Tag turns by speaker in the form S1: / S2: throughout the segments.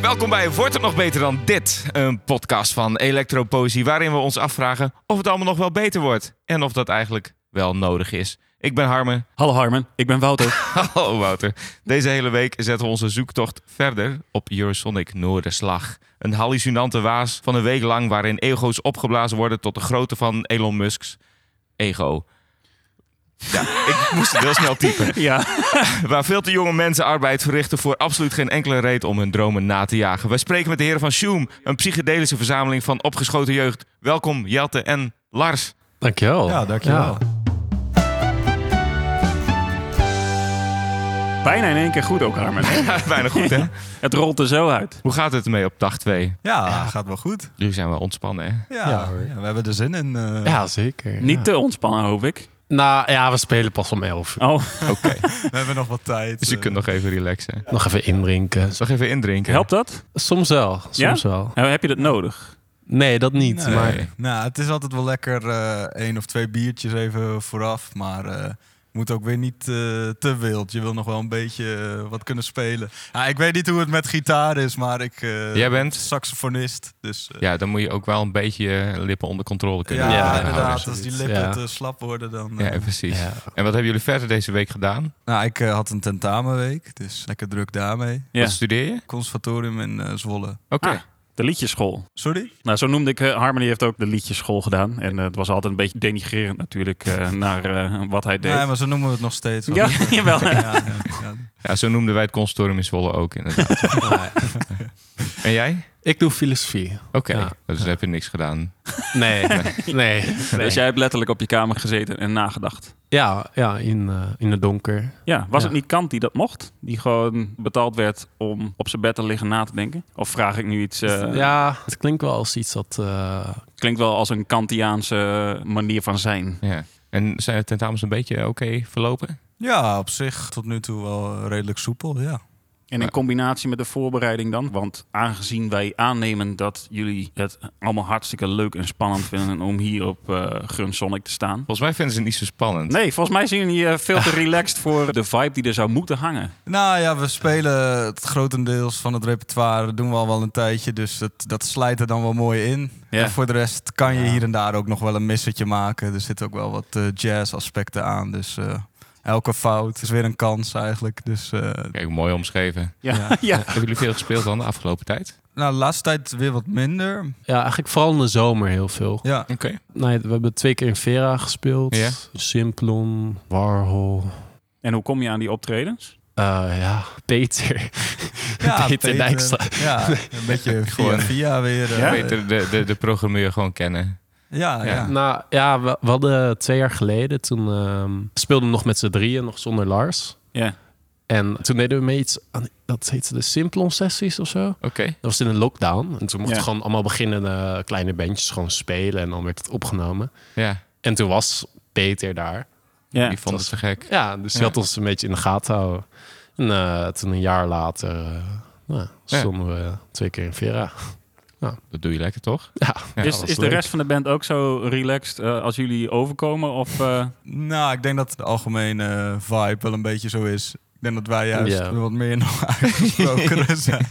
S1: Welkom bij Wordt het nog beter dan dit? Een podcast van Electropoëzie waarin we ons afvragen of het allemaal nog wel beter wordt. En of dat eigenlijk wel nodig is. Ik ben Harmen.
S2: Hallo Harmen, ik ben Wouter.
S1: Hallo Wouter. Deze hele week zetten we onze zoektocht verder op Eurosonic Noorderslag. Een hallucinante waas van een week lang waarin ego's opgeblazen worden tot de grootte van Elon Musk's ego. Ja, ik moest het heel snel typen.
S2: ja.
S1: Waar veel te jonge mensen arbeid verrichten voor absoluut geen enkele reet om hun dromen na te jagen. Wij spreken met de heren van Shoom, een psychedelische verzameling van opgeschoten jeugd. Welkom Jelte en Lars.
S3: Dankjewel.
S4: Ja, dankjewel.
S2: Bijna in één keer goed ook Harmen. hè?
S1: Bijna goed hè?
S2: Het rolt er zo uit.
S1: Hoe gaat het ermee op dag 2?
S4: Ja, gaat wel goed.
S1: Nu zijn we ontspannen hè?
S4: Ja,
S3: Ja, hoor.
S4: ja, we hebben er zin in. eh.
S3: Ja, zeker.
S2: Niet
S3: ja.
S2: te ontspannen hoop ik.
S3: Nou ja, we spelen pas om elf. uur.
S2: Oh,
S1: Oké,
S4: We hebben nog wat tijd.
S1: dus je
S4: eh.
S1: kunt nog even relaxen.
S3: Nog even indrinken.
S1: Zal ik even indrinken?
S2: helpt dat?
S3: Soms wel, soms wel.
S2: Nou, heb je dat nodig?
S3: Nee, dat niet.
S4: Nee.
S3: Maar
S1: Nee.
S4: Nou, het is altijd wel lekker eh, één of twee biertjes even vooraf. Maar eh moet ook weer niet eh, te wild. Je wil nog wel een beetje eh, wat kunnen spelen. Ja, ik weet niet hoe het met gitaar is, maar ik eh
S1: Jij bent?
S4: saxofonist. Dus eh,
S1: Ja, dan moet je ook wel een beetje je lippen onder controle kunnen
S4: ja,
S3: ja,
S4: inderdaad.
S3: ja,
S4: Als die
S3: zoiets,
S4: lippen
S3: ja.
S4: te slap worden, dan... eh.
S1: Ja, precies.
S3: ja.
S1: En wat hebben jullie verder deze week gedaan?
S4: Nou, ik eh, had een tentamenweek, dus lekker druk daarmee.
S2: Ja.
S1: Wat studeer je?
S4: Conservatorium in eh, Zwolle.
S1: Oké.
S2: Ah. De liedjeschool.
S4: Sorry?
S2: Nou, zo noemde ik, eh, Harmony heeft ook de liedjeschool gedaan. En eh, het was altijd een beetje denigrerend natuurlijk eh, naar eh, wat hij deed.
S4: Nee, maar zo noemen we het nog steeds.
S2: Ja, jawel.
S4: Ja, ja, ja.
S1: Ja, zo noemden wij het consortium in Zwolle ook inderdaad. en jij?
S3: Ik doe filosofie.
S1: Oké,
S3: Ja.
S1: dus heb je niks gedaan.
S3: Nee, nee.
S2: Dus jij hebt letterlijk op je kamer gezeten en nagedacht.
S3: Ja, ja in, eh, in het donker.
S2: Ja, was
S3: Ja.
S2: het niet Kant die dat mocht? Die gewoon betaald werd om op zijn bed te liggen na te denken? Of vraag ik nu iets... eh,
S3: ja, het klinkt wel als iets dat... eh,
S2: Klinkt wel als een Kantiaanse eh, manier van zijn.
S1: Ja. En zijn de tentamens een beetje oké verlopen?
S4: Ja, op zich tot nu toe wel eh, redelijk soepel, ja.
S2: En in combinatie met de voorbereiding dan? Want aangezien wij aannemen dat jullie het allemaal hartstikke leuk en spannend vinden om hier op eh Grunsonic te staan.
S1: Volgens mij vinden ze het niet zo spannend.
S2: Nee, volgens mij zijn jullie eh, veel te relaxed voor de vibe die er zou moeten hangen.
S4: Nou ja, we spelen het grotendeels van het repertoire, doen we al wel een tijdje, dus dat, dat slijt er dan wel mooi in.
S2: Ja.
S4: En voor de rest kan je
S3: Ja.
S4: hier en daar ook nog wel een missetje maken. Er zitten ook wel wat eh, jazz-aspecten aan, dus eh, elke fout is weer een kans eigenlijk. Dus, eh,
S1: Kijk, mooi omschreven.
S2: Ja, ja.
S1: Hebben jullie veel gespeeld dan de afgelopen tijd?
S4: nou, de laatste tijd weer wat minder.
S3: ja, eigenlijk vooral in de zomer heel veel.
S4: Ja,
S1: Oké.
S3: Nee, we hebben twee keer in Vera gespeeld.
S1: Ja.
S3: Simplon, Warhol.
S2: En hoe kom je aan die optredens?
S3: eh, ja, Peter.
S4: ja
S3: Peter Dijkstra.
S4: Ja, een beetje via,
S1: Gewoon-
S4: via weer. eh,
S2: Ja?
S1: Beter de, de, de programmeur gewoon kennen.
S4: Ja,
S1: Ja.
S4: ja.
S3: Nou ja, we, we hadden twee jaar geleden, toen ehm, speelden we nog met z'n drieën, nog zonder Lars.
S2: Ja.
S3: En toen deden we mee iets, aan, dat heette de Simplon sessies of zo.
S1: Oké.
S3: Dat was in een lockdown. En toen mochten
S2: Ja.
S3: gewoon allemaal beginnende eh, kleine bandjes gewoon spelen en dan werd het opgenomen.
S1: Ja,
S3: En toen was Peter daar.
S2: Ja.
S1: die vond het te gek.
S3: Ja, dus die
S1: Ja.
S3: had ons een beetje in de gaten houden. En eh, toen een jaar later eh, nou,
S1: Ja.
S3: stonden we twee keer in Vera.
S1: Dat doe je lekker, toch?
S3: Ja,
S1: Ja,
S2: is
S3: dat was
S2: is de
S3: leuk.
S2: rest van de band ook zo relaxed eh, als jullie overkomen? Of, eh,
S4: Nou, ik denk dat de algemene eh, vibe wel een beetje zo is. Ik denk dat wij juist
S3: Ja.
S4: wat meer nog uitgesproken zijn.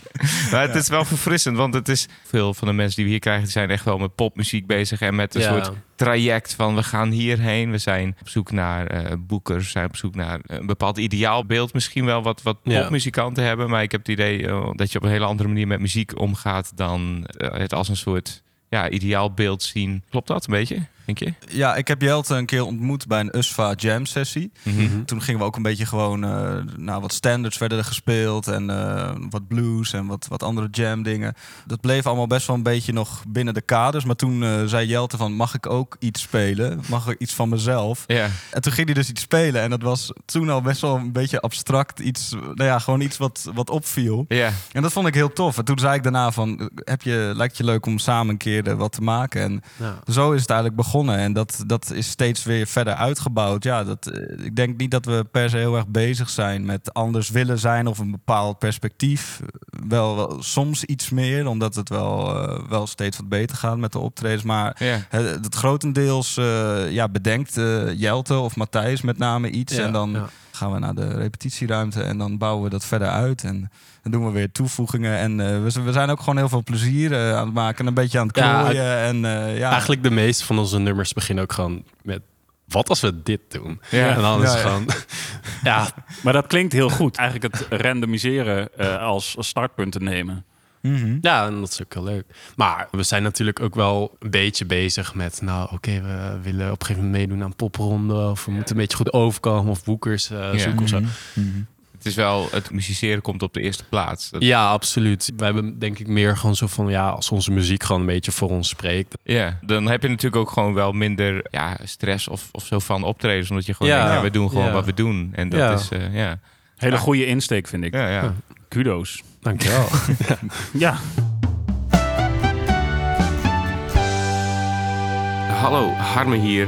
S1: Maar het is wel verfrissend, want het is... Veel van de mensen die we hier krijgen, die zijn echt wel met popmuziek bezig. En met een
S3: Ja.
S1: soort traject van we gaan hierheen. We zijn op zoek naar eh, boekers, we zijn op zoek naar eh, een bepaald ideaalbeeld. Misschien wel wat, wat
S3: Ja.
S1: popmuzikanten hebben. Maar ik heb het idee eh, dat je op een hele andere manier met muziek omgaat dan eh, het als een soort ja, ideaalbeeld zien. Klopt dat een beetje, denk je?
S4: Ja, ik heb Jelte een keer ontmoet bij een USFA Jam sessie.
S3: Mhm.
S4: Toen gingen we ook een beetje gewoon eh nou, wat standards werden er gespeeld. En eh, wat blues en wat, wat andere jam dingen. Dat bleef allemaal best wel een beetje nog binnen de kaders. Maar toen eh, zei Jelte van, mag ik ook iets spelen? Mag ik iets van mezelf?
S1: Ja,
S4: En toen ging hij dus iets spelen. En dat was toen al best wel een beetje abstract. Iets, nou ja, gewoon iets wat, wat opviel.
S1: ja.
S4: En dat vond ik heel tof. En toen zei ik daarna van, heb je, lijkt je leuk om samen een keer eh, wat te maken? En
S3: Ja.
S4: zo is het eigenlijk begonnen. En dat, dat is steeds weer verder uitgebouwd. Ja, dat, eh, ik denk niet dat we per se heel erg bezig zijn met anders willen zijn of een bepaald perspectief. Wel, wel soms iets meer, omdat het wel, eh, wel steeds wat beter gaat met de optredens. Maar
S1: ja.
S4: eh, het grotendeels eh, ja, bedenkt eh, Jelte of Matthijs met name iets.
S3: Ja,
S4: en dan
S3: ja.
S4: gaan we naar de repetitieruimte en dan bouwen we dat verder uit. En dan doen we weer toevoegingen. En eh, we, z- we zijn ook gewoon heel veel plezier eh, aan het maken. en Een beetje aan het
S3: Ja,
S4: klooien. en, eh, ja.
S3: Eigenlijk de meeste van onze nummers beginnen ook gewoon met... Wat als we dit doen?
S1: Ja.
S3: En dan is
S4: Ja,
S3: het
S4: ja.
S3: gewoon... ja,
S2: Maar dat klinkt heel goed. Eigenlijk het randomiseren eh, als, als startpunt te nemen.
S4: Mhm.
S3: Ja, en dat is ook heel leuk. Maar we zijn natuurlijk ook wel een beetje bezig met... nou, oké, we willen op een gegeven moment meedoen aan popronden... of we moeten een beetje goed overkomen of boekers eh,
S1: Ja.
S3: zoeken of
S4: Mhm.
S3: zo.
S1: Het is wel, het musiceren komt op de eerste plaats. Dat-
S3: Ja, absoluut. We hebben denk ik meer gewoon zo van... ja, als onze muziek gewoon een beetje voor ons spreekt...
S1: Ja, dan heb je natuurlijk ook gewoon wel minder ja, stress of, of zo van optredens. Omdat je gewoon
S3: Ja.
S1: denkt, ja, we doen gewoon
S3: Ja.
S1: wat we doen. En dat
S3: Ja.
S1: is, eh, ja.
S2: Hele goede insteek, vind ik.
S1: Ja, ja.
S2: Kudos.
S3: Dankjewel.
S2: Ja.
S5: Hallo, Harme hier.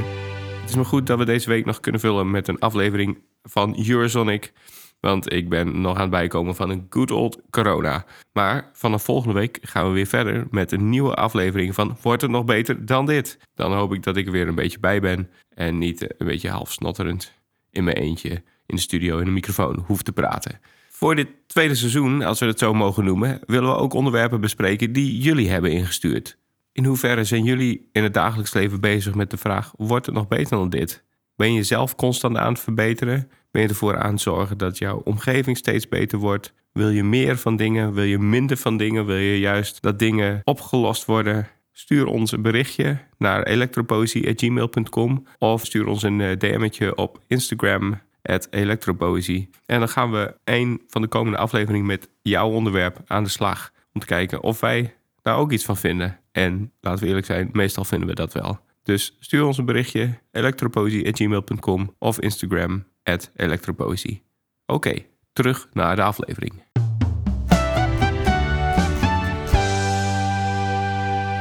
S5: Het is me goed dat we deze week nog kunnen vullen met een aflevering van Eurosonic. Want ik ben nog aan het bijkomen van een good old corona. Maar vanaf volgende week gaan we weer verder met een nieuwe aflevering van Wordt het nog beter dan dit? Dan hoop ik dat ik er weer een beetje bij ben en niet eh, een beetje half snotterend in mijn eentje in de studio in een microfoon hoef te praten. Voor dit tweede seizoen, als we het zo mogen noemen, willen we ook onderwerpen bespreken die jullie hebben ingestuurd. In hoeverre zijn jullie in het dagelijks leven bezig met de vraag: wordt het nog beter dan dit? Ben je zelf constant aan het verbeteren? Ben je ervoor aan het zorgen dat jouw omgeving steeds beter wordt? Wil je meer van dingen? Wil je minder van dingen? Wil je juist dat dingen opgelost worden? Stuur ons een berichtje naar elektropoëzie.gmail.com of stuur ons een eh, DM'tje op Instagram elektropoëzie. En dan gaan we een van de komende afleveringen met jouw onderwerp aan de slag. Om te kijken of wij daar ook iets van vinden. En laten we eerlijk zijn, meestal vinden we dat wel. Dus stuur ons een berichtje, elektropoëzie.gmail.com of Instagram, elektropoëzie. Oké, terug naar de aflevering.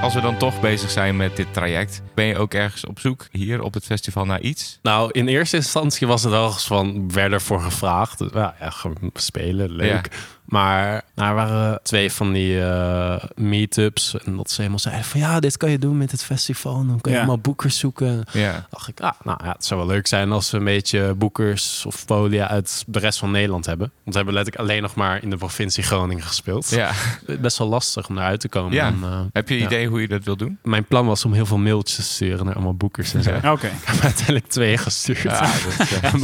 S1: Als we dan toch bezig zijn met dit traject, ben je ook ergens op zoek hier op het festival naar iets?
S3: nou, in eerste instantie was het wel eens van... werd ervoor gevraagd. Dus, ja, ja, gewoon spelen, leuk. Maar nou, er waren twee van die eh, meetups. En dat ze helemaal zeiden van... ja, dit kan je doen met het festival. En dan kan
S2: Ja.
S3: je allemaal boekers zoeken.
S1: Ja.
S3: dacht ik, ah, nou ja, het zou wel leuk zijn als we een beetje boekers of polia uit de rest van Nederland hebben. Want we hebben letterlijk alleen nog maar in de provincie Groningen gespeeld.
S1: ja.
S3: Best wel lastig om daaruit te komen.
S1: Ja.
S3: En, eh,
S1: Heb je een
S3: Ja.
S1: idee hoe je dat wil doen?
S3: mijn plan was om heel veel mailtjes te sturen naar allemaal boekers en zo. Ik
S2: Oké.
S3: heb uiteindelijk twee gestuurd.
S1: eh,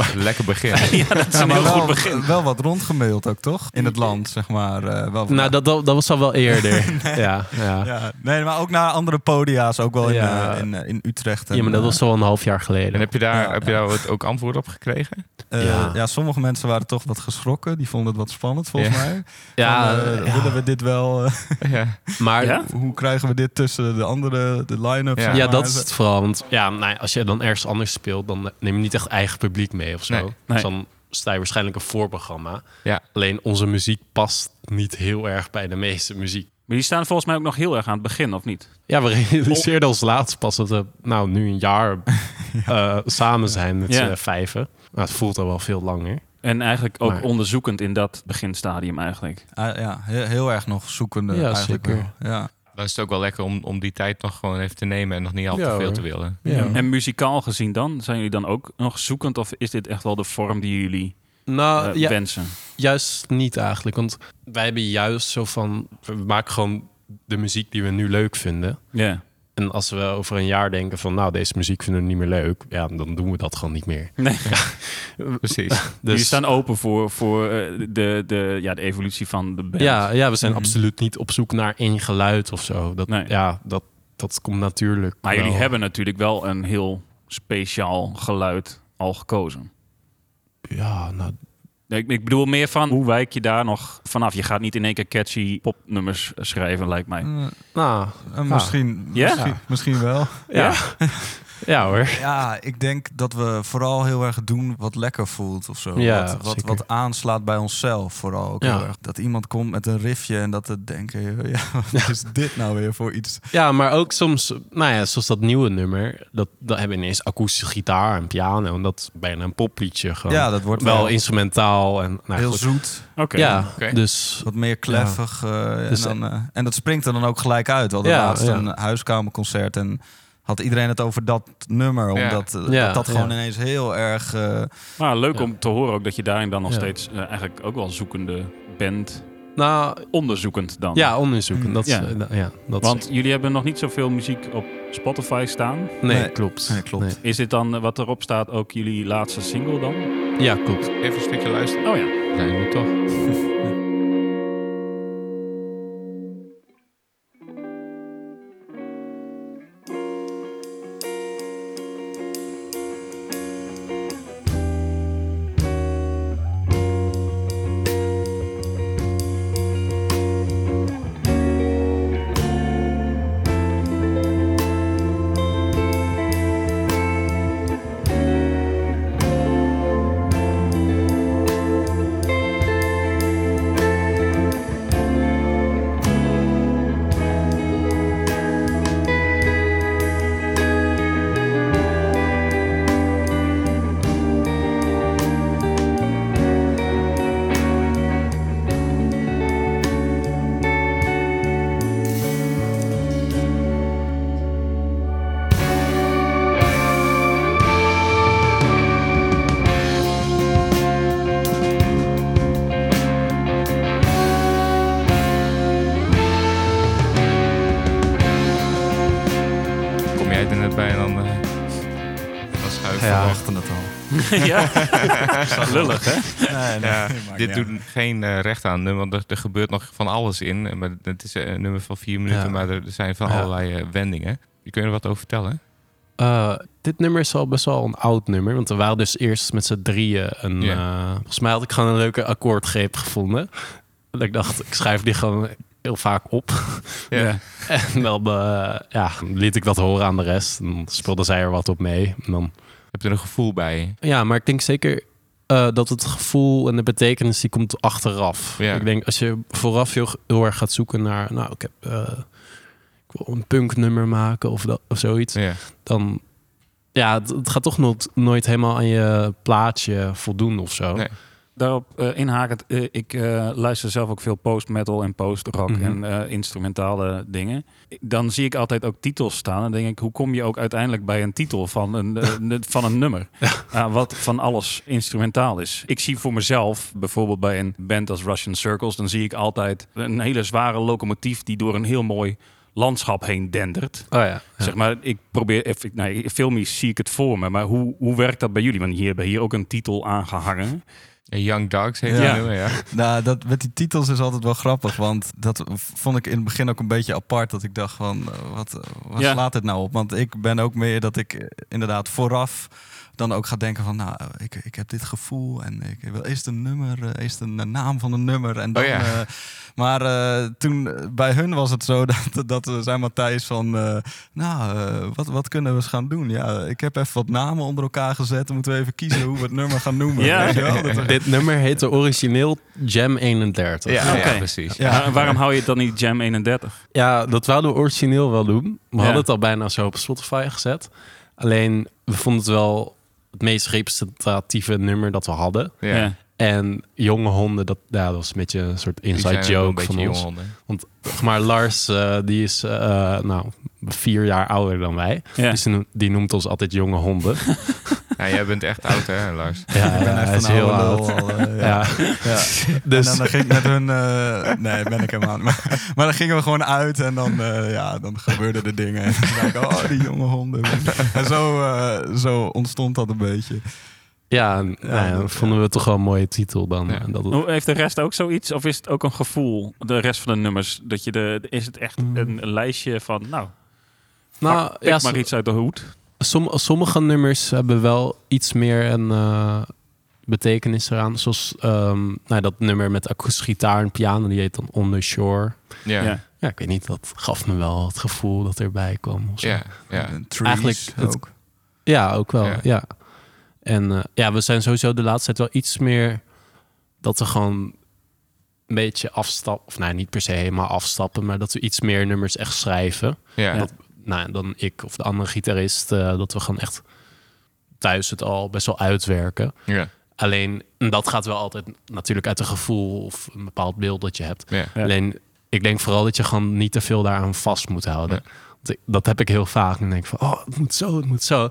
S1: Lekker begin.
S2: Dat is
S4: Ja,
S2: een
S4: maar
S2: heel
S4: wel,
S2: goed begin.
S4: wel wat rondgemaild ook, toch? In het land, zeg maar. eh, wel,
S3: Nou, dat, dat, dat was al wel eerder. ja, ja. ja.
S4: ja. Nee, maar ook naar andere podia's, ook wel in,
S3: Ja.
S4: eh, in, eh, in Utrecht. en,
S3: maar dat
S4: eh,
S3: was al een half jaar
S1: En
S3: geleden.
S1: heb je daar,
S4: Ja,
S1: heb je daar wat- ook antwoord op gekregen?
S4: Eh,
S3: Ja.
S4: ja. sommige mensen waren toch wat geschrokken. Die vonden het wat spannend, volgens
S1: Ja.
S4: mij.
S3: Ja,
S4: Van, eh,
S3: ja.
S4: Willen we dit wel... eh,
S1: Ja.
S3: maar
S2: Ja?
S4: hoe krijgen we dit tussen de andere de line-up?
S1: Ja.
S4: zeg
S3: Ja,
S4: maar?
S3: dat is het vooral. Want ja, nou, ja, als je dan ergens anders speelt, dan eh, neem je niet echt eigen publiek mee of zo.
S1: Nee, nee.
S3: Dus dan sta je waarschijnlijk een voorprogramma.
S1: Ja.
S3: Alleen onze muziek past niet heel erg bij de meeste muziek.
S2: Maar die staan volgens mij ook nog heel erg aan het begin, of niet?
S3: Ja, we realiseerden ons laatst pas dat we nou nu een jaar eh, samen zijn met
S2: Ja.
S3: z'n vijven. Nou, het voelt al wel veel langer.
S2: En eigenlijk ook
S3: Maar-
S2: onderzoekend in dat beginstadium eigenlijk.
S4: Ah, ja, he- heel erg nog zoekende
S3: Ja,
S4: eigenlijk
S3: zeker.
S4: wel. Ja.
S1: Dan is het ook wel lekker om, om die tijd nog gewoon even te nemen en nog niet al te
S3: Ja,
S1: veel
S3: hoor.
S1: te willen.
S2: En muzikaal gezien dan, zijn jullie dan ook nog zoekend of is dit echt wel de vorm die jullie
S3: Nou,
S2: eh,
S3: ja,
S2: wensen?
S3: Juist niet eigenlijk. Want wij hebben juist zo van... We maken gewoon de muziek die we nu leuk vinden.
S2: Ja.
S3: En als we over een jaar denken van... nou, deze muziek vinden we niet meer leuk. Ja, dan doen we dat gewoon niet meer.
S2: Nee.
S4: Dus-
S1: Precies.
S3: Dus,
S2: Jullie staan open voor, voor eh, de, de, ja, de evolutie van de band.
S3: ja, ja, we zijn
S4: Mhm.
S3: absoluut niet op zoek naar één geluid of zo. Dat,
S2: Nee.
S3: Ja, dat, dat komt natuurlijk
S2: Maar jullie
S3: wel.
S2: hebben natuurlijk wel een heel speciaal geluid al gekozen.
S3: Ja, nou...
S2: Nee, Ik, ik bedoel meer van, hoe wijk je daar nog vanaf? Je gaat niet in één keer catchy popnummers schrijven, lijkt mij.
S4: Eh,
S3: nou
S4: eh, misschien,
S2: Ja?
S4: misschien, misschien wel.
S3: ja. ja hoor.
S4: Ja, ik denk dat we vooral heel erg doen wat lekker voelt of zo.
S3: Ja,
S4: wat, wat,
S3: zeker.
S4: wat aanslaat bij onszelf vooral ook
S3: Ja.
S4: heel erg. Dat iemand komt met een riffje en dat we denken... Ja, wat is dit nou weer voor iets?
S3: Ja, maar ook soms, nou ja, zoals dat nieuwe nummer, dat, dat hebben we ineens akoestische gitaar en piano. En dat is bijna een popliedje gewoon.
S4: Ja, dat wordt
S3: wel
S4: wel
S3: instrumentaal en nou,
S4: heel
S3: goed.
S4: zoet.
S2: Oké.
S3: Ja,
S1: Oké.
S3: dus
S4: Wat meer kleffig. eh,
S3: Dus-
S4: en, dan, eh, en dat springt er dan ook gelijk uit. We hadden
S3: Ja,
S4: laatst
S3: ja.
S4: een huiskamerconcert en had iedereen het over dat nummer.
S1: Ja.
S4: Omdat eh,
S3: Ja,
S4: dat, dat
S3: ja.
S4: gewoon ineens heel erg... eh,
S2: Maar leuk
S3: Ja.
S2: om te horen ook dat je daarin dan nog
S3: Ja.
S2: steeds eh, eigenlijk ook wel zoekende bent.
S3: Nou,
S2: Onderzoekend dan.
S3: ja, onderzoeken. Dat is,
S2: Ja.
S3: eh, da- ja, dat is-
S2: Want jullie hebben nog niet zoveel muziek op Spotify staan.
S3: nee,
S4: Nee.
S3: klopt.
S4: Nee, klopt.
S2: Is dit dan eh, wat erop staat ook jullie laatste single dan?
S3: Nee. Ja, klopt.
S1: Even een stukje luisteren.
S2: Oh ja.
S1: Zijn we toch? Kom jij er net bij en dan... eh, dan schuif je
S3: Ja.
S1: weg.
S4: verwachten het al.
S2: ja. Lullig hè?
S4: Nee, nee,
S1: Ja,
S4: maakt
S1: dit
S4: niet
S1: doet
S4: uit.
S1: geen eh, recht aan het nummer, want er, er gebeurt nog van alles in. Eh, Maar het is eh, een nummer van vier minuten,
S3: Ja.
S1: maar er er zijn van
S3: Ja.
S1: allerlei eh, wendingen. Je kunt er wat over vertellen.
S3: Eh, dit nummer is al best wel een oud nummer. Want we waren dus eerst met z'n drieën. En,
S1: Ja.
S3: eh, volgens mij had ik gewoon een leuke akkoordgreep gevonden. Dat ik dacht, ik schrijf die gewoon heel vaak op.
S1: Ja.
S3: En dan eh, ja, liet ik dat horen aan de rest. En dan speelde zij er wat op mee. En dan,
S1: Heb je er een gevoel bij?
S3: ja, maar ik denk zeker eh, dat het gevoel en de betekenis die komt achteraf.
S1: Ja.
S3: Ik denk als je vooraf heel, heel erg gaat zoeken naar, nou, ik heb. eh, ik wil een punknummer maken of, dat, of zoiets
S1: Ja.
S3: dan... Ja, het, het gaat toch nooit, nooit helemaal aan je plaatje voldoen of zo.
S1: Nee.
S2: Daarop eh, inhakend, eh, ik eh, luister zelf ook veel post-metal en post-rock
S3: Mhm.
S2: en eh, instrumentale dingen. Dan zie ik altijd ook titels staan en denk ik, hoe kom je ook uiteindelijk bij een titel van een, eh, n- van een nummer? Ah, wat van alles instrumentaal is. Ik zie voor mezelf, bijvoorbeeld bij een band als Russian Circles, dan zie ik altijd een hele zware locomotief die door een heel mooi landschap heen dendert.
S3: Oh ja.
S2: Zeg maar, ik probeer even, nou, filmisch zie ik het voor me, maar hoe, hoe werkt dat bij jullie? Want hier hebben hier ook een titel aangehangen.
S1: Ja, Eh, Young Dogs heet
S4: Ja.
S1: het nummer, ja.
S4: Nou, dat, met die titels is altijd wel grappig. Want dat vond ik in het begin ook een beetje apart. Dat ik dacht van, eh, wat, eh, wat
S2: Ja.
S4: slaat dit nou op? Want ik ben ook meer dat ik eh, inderdaad vooraf dan ook ga denken van... Nou, ik, ik heb dit gevoel en ik wil eerst een nummer, eh, eerst een eh, naam van een nummer. En dan,
S1: Oh ja.
S4: eh, maar eh, toen eh, bij hun was het zo dat, dat we zijn Matthijs van... eh, nou, eh, wat, wat kunnen we eens gaan doen? Ja, ik heb even wat namen onder elkaar gezet. Dan moeten we even kiezen hoe we het nummer gaan noemen.
S2: Ja.
S4: Weet je wel? Dat we-
S3: Dit nummer heette origineel Jam 31.
S1: Ja,
S2: Oké.
S1: ja, precies.
S4: Ja.
S2: Waar- waarom hou je het dan niet Jam 31?
S3: Ja, dat wilden we origineel wel doen. We
S2: Ja.
S3: hadden het al bijna zo op Spotify gezet. Alleen, we vonden het wel het meest representatieve nummer dat we hadden.
S1: Ja.
S3: En jonge honden, dat, ja, dat was een beetje een soort
S1: Die zijn
S3: inside
S1: ook wel een
S3: joke
S1: beetje
S3: van ons.
S1: jonghonden.
S3: Maar Lars, eh, die is eh, nou, vier jaar ouder dan wij.
S2: Ja.
S3: Dus die noemt- die noemt ons altijd jonge honden.
S1: Ja, jij bent echt oud, hè, Lars?
S3: Ja,
S4: Ik ben
S3: ja,
S4: echt
S3: hij is
S4: een
S3: heel
S4: oude
S3: oud.
S4: lul al, eh, ja.
S3: Ja.
S4: Ja.
S3: Dus-
S4: En dan ging ik met hun... eh, nee, ben ik helemaal niet. Maar, maar dan gingen we gewoon uit en dan, eh, ja, dan gebeurden er dingen. En dan dacht ik, oh, die jonge honden. En zo, eh, zo ontstond dat een beetje.
S3: Ja, en, nou ja,
S4: dat-
S3: vonden we het toch wel een mooie titel dan.
S1: Ja.
S3: En Dat het-
S2: Hoe- Heeft de rest ook zoiets? Of is het ook een gevoel, de rest van de nummers? Dat je de, is het echt
S3: Mm.
S2: een lijstje van, nou,
S3: nou,
S2: pik
S3: ja,
S2: maar
S3: som-
S2: iets uit de hoed?
S3: som- sommige nummers hebben wel iets meer een eh, betekenis eraan. Zoals ehm, nou, dat nummer met akoestische gitaar en piano, die heet dan On The Shore.
S1: Ja, ja,
S2: Ja.
S3: Ja, ik weet niet, dat gaf me wel het gevoel dat erbij kwam. of zo.
S1: ja. ja.
S4: En trees
S3: Eigenlijk het-
S4: ook.
S3: Ja, ook wel.
S1: Ja.
S3: Ja. En eh, ja, we zijn sowieso de laatste tijd wel iets meer dat we gewoon een beetje afstappen. Of nou, niet per se helemaal afstappen, maar dat we iets meer nummers echt schrijven.
S1: ja.
S3: Nou, dan ik of de andere gitarist, eh, dat we gewoon echt thuis het al best wel uitwerken. Alleen en dat gaat wel altijd natuurlijk uit een gevoel of een bepaald beeld dat je hebt.
S1: Ja.
S2: Ja.
S3: Alleen ik denk vooral dat je gewoon niet te veel daaraan vast moet houden. dat heb ik heel vaak. Dan denk ik van, oh, het moet zo, het moet zo.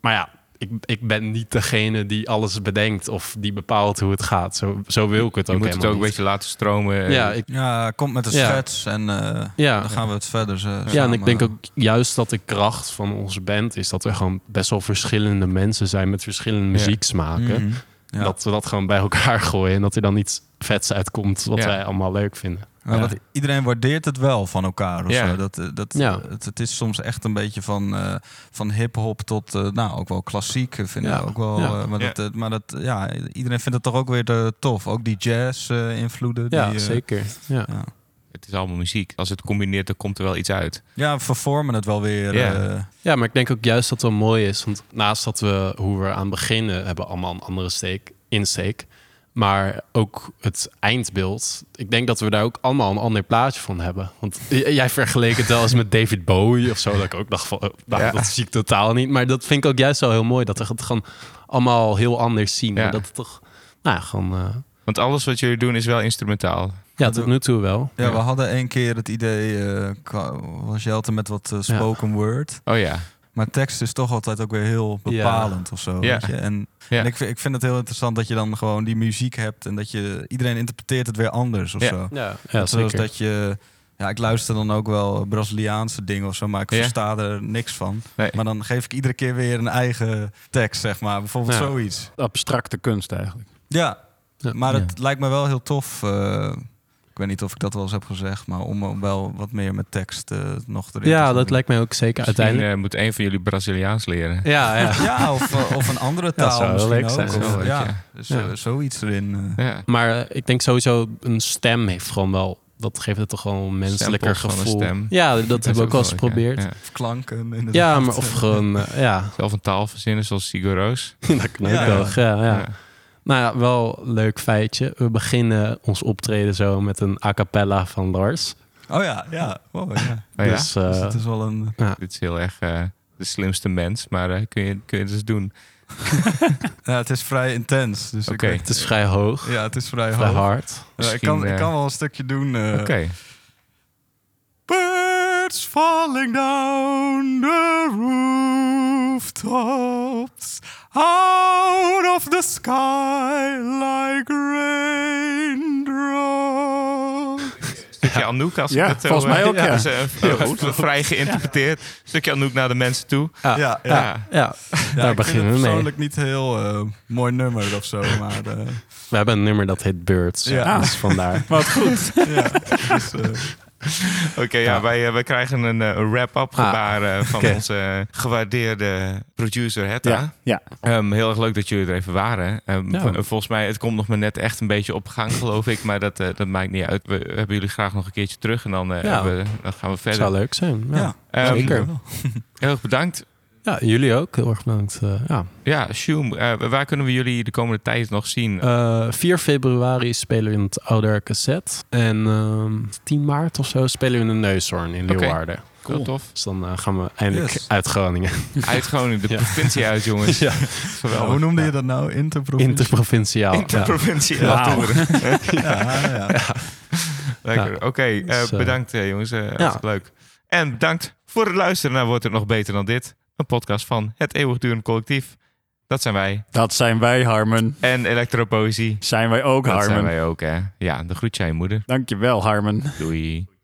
S3: Maar ja, ik, ik ben niet degene die alles bedenkt of die bepaalt hoe het gaat. Zo, zo wil ik het
S1: Je
S3: ook
S1: moet het ook eh, een
S3: helemaal
S1: beetje laten stromen.
S3: niet. Ja, ik,
S4: Ja, komt met een
S3: Ja.
S4: schets en eh,
S3: ja.
S4: dan gaan we het verder. eh,
S3: Ja, en
S4: samen-
S3: ik denk ook juist dat de kracht van onze band is dat er gewoon best wel verschillende mensen zijn met verschillende muzieksmaken.
S1: Mm,
S4: Mhm. Ja.
S3: Dat we dat gewoon bij elkaar gooien en dat er dan iets vets uitkomt wat
S1: Ja.
S3: wij allemaal leuk vinden.
S4: Maar
S3: Ja.
S4: wat, iedereen waardeert het wel van elkaar. Of
S1: Ja.
S4: zo. Dat, eh, dat,
S3: Ja.
S4: het, het is soms echt een beetje van, eh, van hip-hop tot eh, nou, ook wel klassiek. eh, Vind
S3: Ja.
S4: ik ook wel.
S3: Ja.
S4: eh, maar,
S1: Ja.
S4: Dat, eh, maar dat, ja, iedereen vindt het toch ook weer eh, tof. Ook die jazz-invloeden. eh,
S3: Ja,
S1: eh,
S3: zeker. Ja.
S4: ja.
S1: Het is allemaal muziek. Als het combineert, dan komt er wel iets uit.
S4: ja, vervormen het wel weer.
S1: Ja.
S4: eh,
S3: ja, maar ik denk ook juist dat het wel mooi is. Want naast dat we hoe we aan beginnen hebben allemaal een andere steek, insteek. Maar ook het eindbeeld. Ik denk dat we daar ook allemaal een ander plaatje van hebben. Want j- jij vergeleek het wel eens met David Bowie of zo. Dat ik ook dacht van, oh, nou,
S1: Ja.
S3: dat zie ik totaal niet. Maar dat vind ik ook juist wel heel mooi. Dat we het gewoon allemaal heel anders zien.
S1: Ja.
S3: En dat het toch, nou ja, gewoon... eh,
S1: Want alles wat jullie doen is wel instrumentaal.
S3: ja, tot nu toe wel.
S4: ja, we hadden één keer het idee, eh, qua- was Jelte met wat eh, spoken word.
S1: Oh ja.
S4: Maar tekst is toch altijd ook weer heel
S3: Ja.
S4: bepalend of zo. weet je. En,
S1: Ja.
S4: en ik, vind- ik vind het heel interessant dat je dan gewoon die muziek hebt en dat je iedereen interpreteert het weer anders of
S1: Ja.
S4: zo.
S3: Ja,
S4: Net zoals
S3: zeker.
S4: dat je. Ja, ik luister dan ook wel Braziliaanse dingen of zo, maar ik
S1: Ja.
S4: versta er niks van.
S1: Nee.
S4: Maar dan geef ik iedere keer weer een eigen tekst, zeg maar. Bijvoorbeeld
S3: Ja.
S4: zoiets.
S2: Abstracte kunst eigenlijk.
S4: Ja,
S3: Ja.
S4: maar het lijkt me wel heel tof. eh, ik weet niet of ik dat wel eens heb gezegd, maar om eh, wel wat meer met tekst eh, nog erin te
S3: Ja, dat
S4: gooien.
S3: lijkt mij ook zeker
S1: Uiteindelijk
S3: uiteindelijk.
S1: eh, moet een van jullie Braziliaans leren.
S3: Ja, ja.
S4: Ja, of, eh, of een andere
S3: dat
S4: taal
S3: zou wel
S4: misschien
S3: leuk zijn.
S4: ook.
S1: Dat is wel
S4: Of,
S1: leuk,
S4: ja,
S1: ja.
S4: zo-
S3: Ja.
S4: zoiets erin. eh.
S1: Ja.
S3: Maar eh, ik denk sowieso een stem heeft gewoon wel... Dat geeft het toch gewoon een menselijker
S1: Samples van een
S3: gevoel.
S1: stem.
S3: Ja, dat,
S1: is
S3: hebben we
S1: ook
S3: ook al eens
S1: wel leuk, ja.
S3: geprobeerd. Ja,
S1: Ja.
S4: Of klanken. inderdaad.
S3: maar of gewoon... eh, ja,
S1: Zelf een taal verzinnen zoals Sigur Roos.
S3: dat kan ook
S4: Ja.
S3: wel. Ja, ja.
S1: Ja.
S3: Nou ja, wel een leuk feitje. We beginnen ons optreden zo met een a cappella van Lars.
S4: Oh ja, ja. Wow, ja.
S1: Maar ja,
S3: Dus, eh,
S4: Dus het is wel een...
S1: dit is heel erg eh, de slimste mens, maar eh, kun, je, kun je het eens doen.
S4: Ja, het is vrij intens. Dus ik
S1: Oké.
S4: weet-
S3: het is vrij hoog,
S4: Ja, het is vrij
S3: vrij
S4: hoog.
S3: hard.
S4: Ja, ik,
S1: Misschien,
S4: kan, ik
S1: eh,
S4: kan wel een stukje doen. eh.
S1: Oké.
S4: Birds falling down the rooftops, out of the sky like raindrops.
S1: Stukje Anouk, als ik
S2: Ja,
S1: het zo,
S2: volgens mij
S1: eh,
S2: ook, ja.
S1: is, eh, v- vrij geïnterpreteerd. Stukje Anouk naar de mensen toe.
S3: Ja,
S4: Ja, ja.
S1: Ja.
S3: ja, daar beginnen we
S4: het
S3: mee.
S4: persoonlijk niet heel eh, mooi nummer of zo, maar eh,
S3: We hebben een nummer dat heet Birds.
S4: Ja.
S3: Dus vandaar.
S2: Wat goed.
S4: ja. Dus, eh,
S1: Oké, ja, wij, eh, wij krijgen een eh, een wrap-up
S3: Ah,
S1: gebaar eh, van
S3: oké.
S1: onze eh, gewaardeerde producer Hetta.
S2: Ja. ja.
S1: Ehm, heel erg leuk dat jullie er even waren. Ehm,
S3: Ja.
S1: v- Volgens mij, het komt nog maar net echt een beetje op gang, geloof ik. Maar dat, eh, dat maakt niet uit. We hebben jullie graag nog een keertje terug en dan, eh,
S3: Ja.
S1: hebben we- dan gaan we
S3: Het
S1: verder.
S3: zou leuk zijn. Ja.
S4: ja.
S1: Ehm,
S3: zeker.
S1: Heel erg bedankt.
S3: Ja, jullie ook. Heel erg bedankt. Eh, ja.
S1: Ja, Sjoem, eh, waar kunnen we jullie de komende tijd nog zien?
S3: Eh, 4 februari spelen we in het Ouder Cassette. En ehm 10 maart of zo spelen we in de Neushoorn in
S1: Oké.
S3: Leeuwarden.
S1: Heel tof.
S3: Dus dan eh, gaan we eindelijk
S4: Yes.
S3: uit Groningen.
S1: Uit Groningen, de
S3: Ja.
S1: provincie uit, jongens.
S3: Ja.
S1: Geweldig.
S4: Hoe noemde je dat nou? Interprovincie?
S3: Interprovinciaal. nou? ja.
S1: Interprovincie
S2: Wauw.
S1: uit toeren.
S4: ja, ja.
S1: Lekker.
S3: Ja.
S1: Oké, eh,
S3: Dus, eh,
S1: bedankt eh, jongens. eh hartstikke leuk. En bedankt voor het luisteren naar Wordt het nog beter dan dit? Een podcast van Het Eeuwigdurend Collectief. Dat zijn wij.
S2: Dat zijn wij, Harmen.
S1: En Elektropoëzie.
S2: Zijn wij ook,
S1: Dat zijn
S2: Harmen.
S1: wij ook, hè. Ja, de groet jij moeder.
S2: Dankjewel, Harmen.
S1: Doei.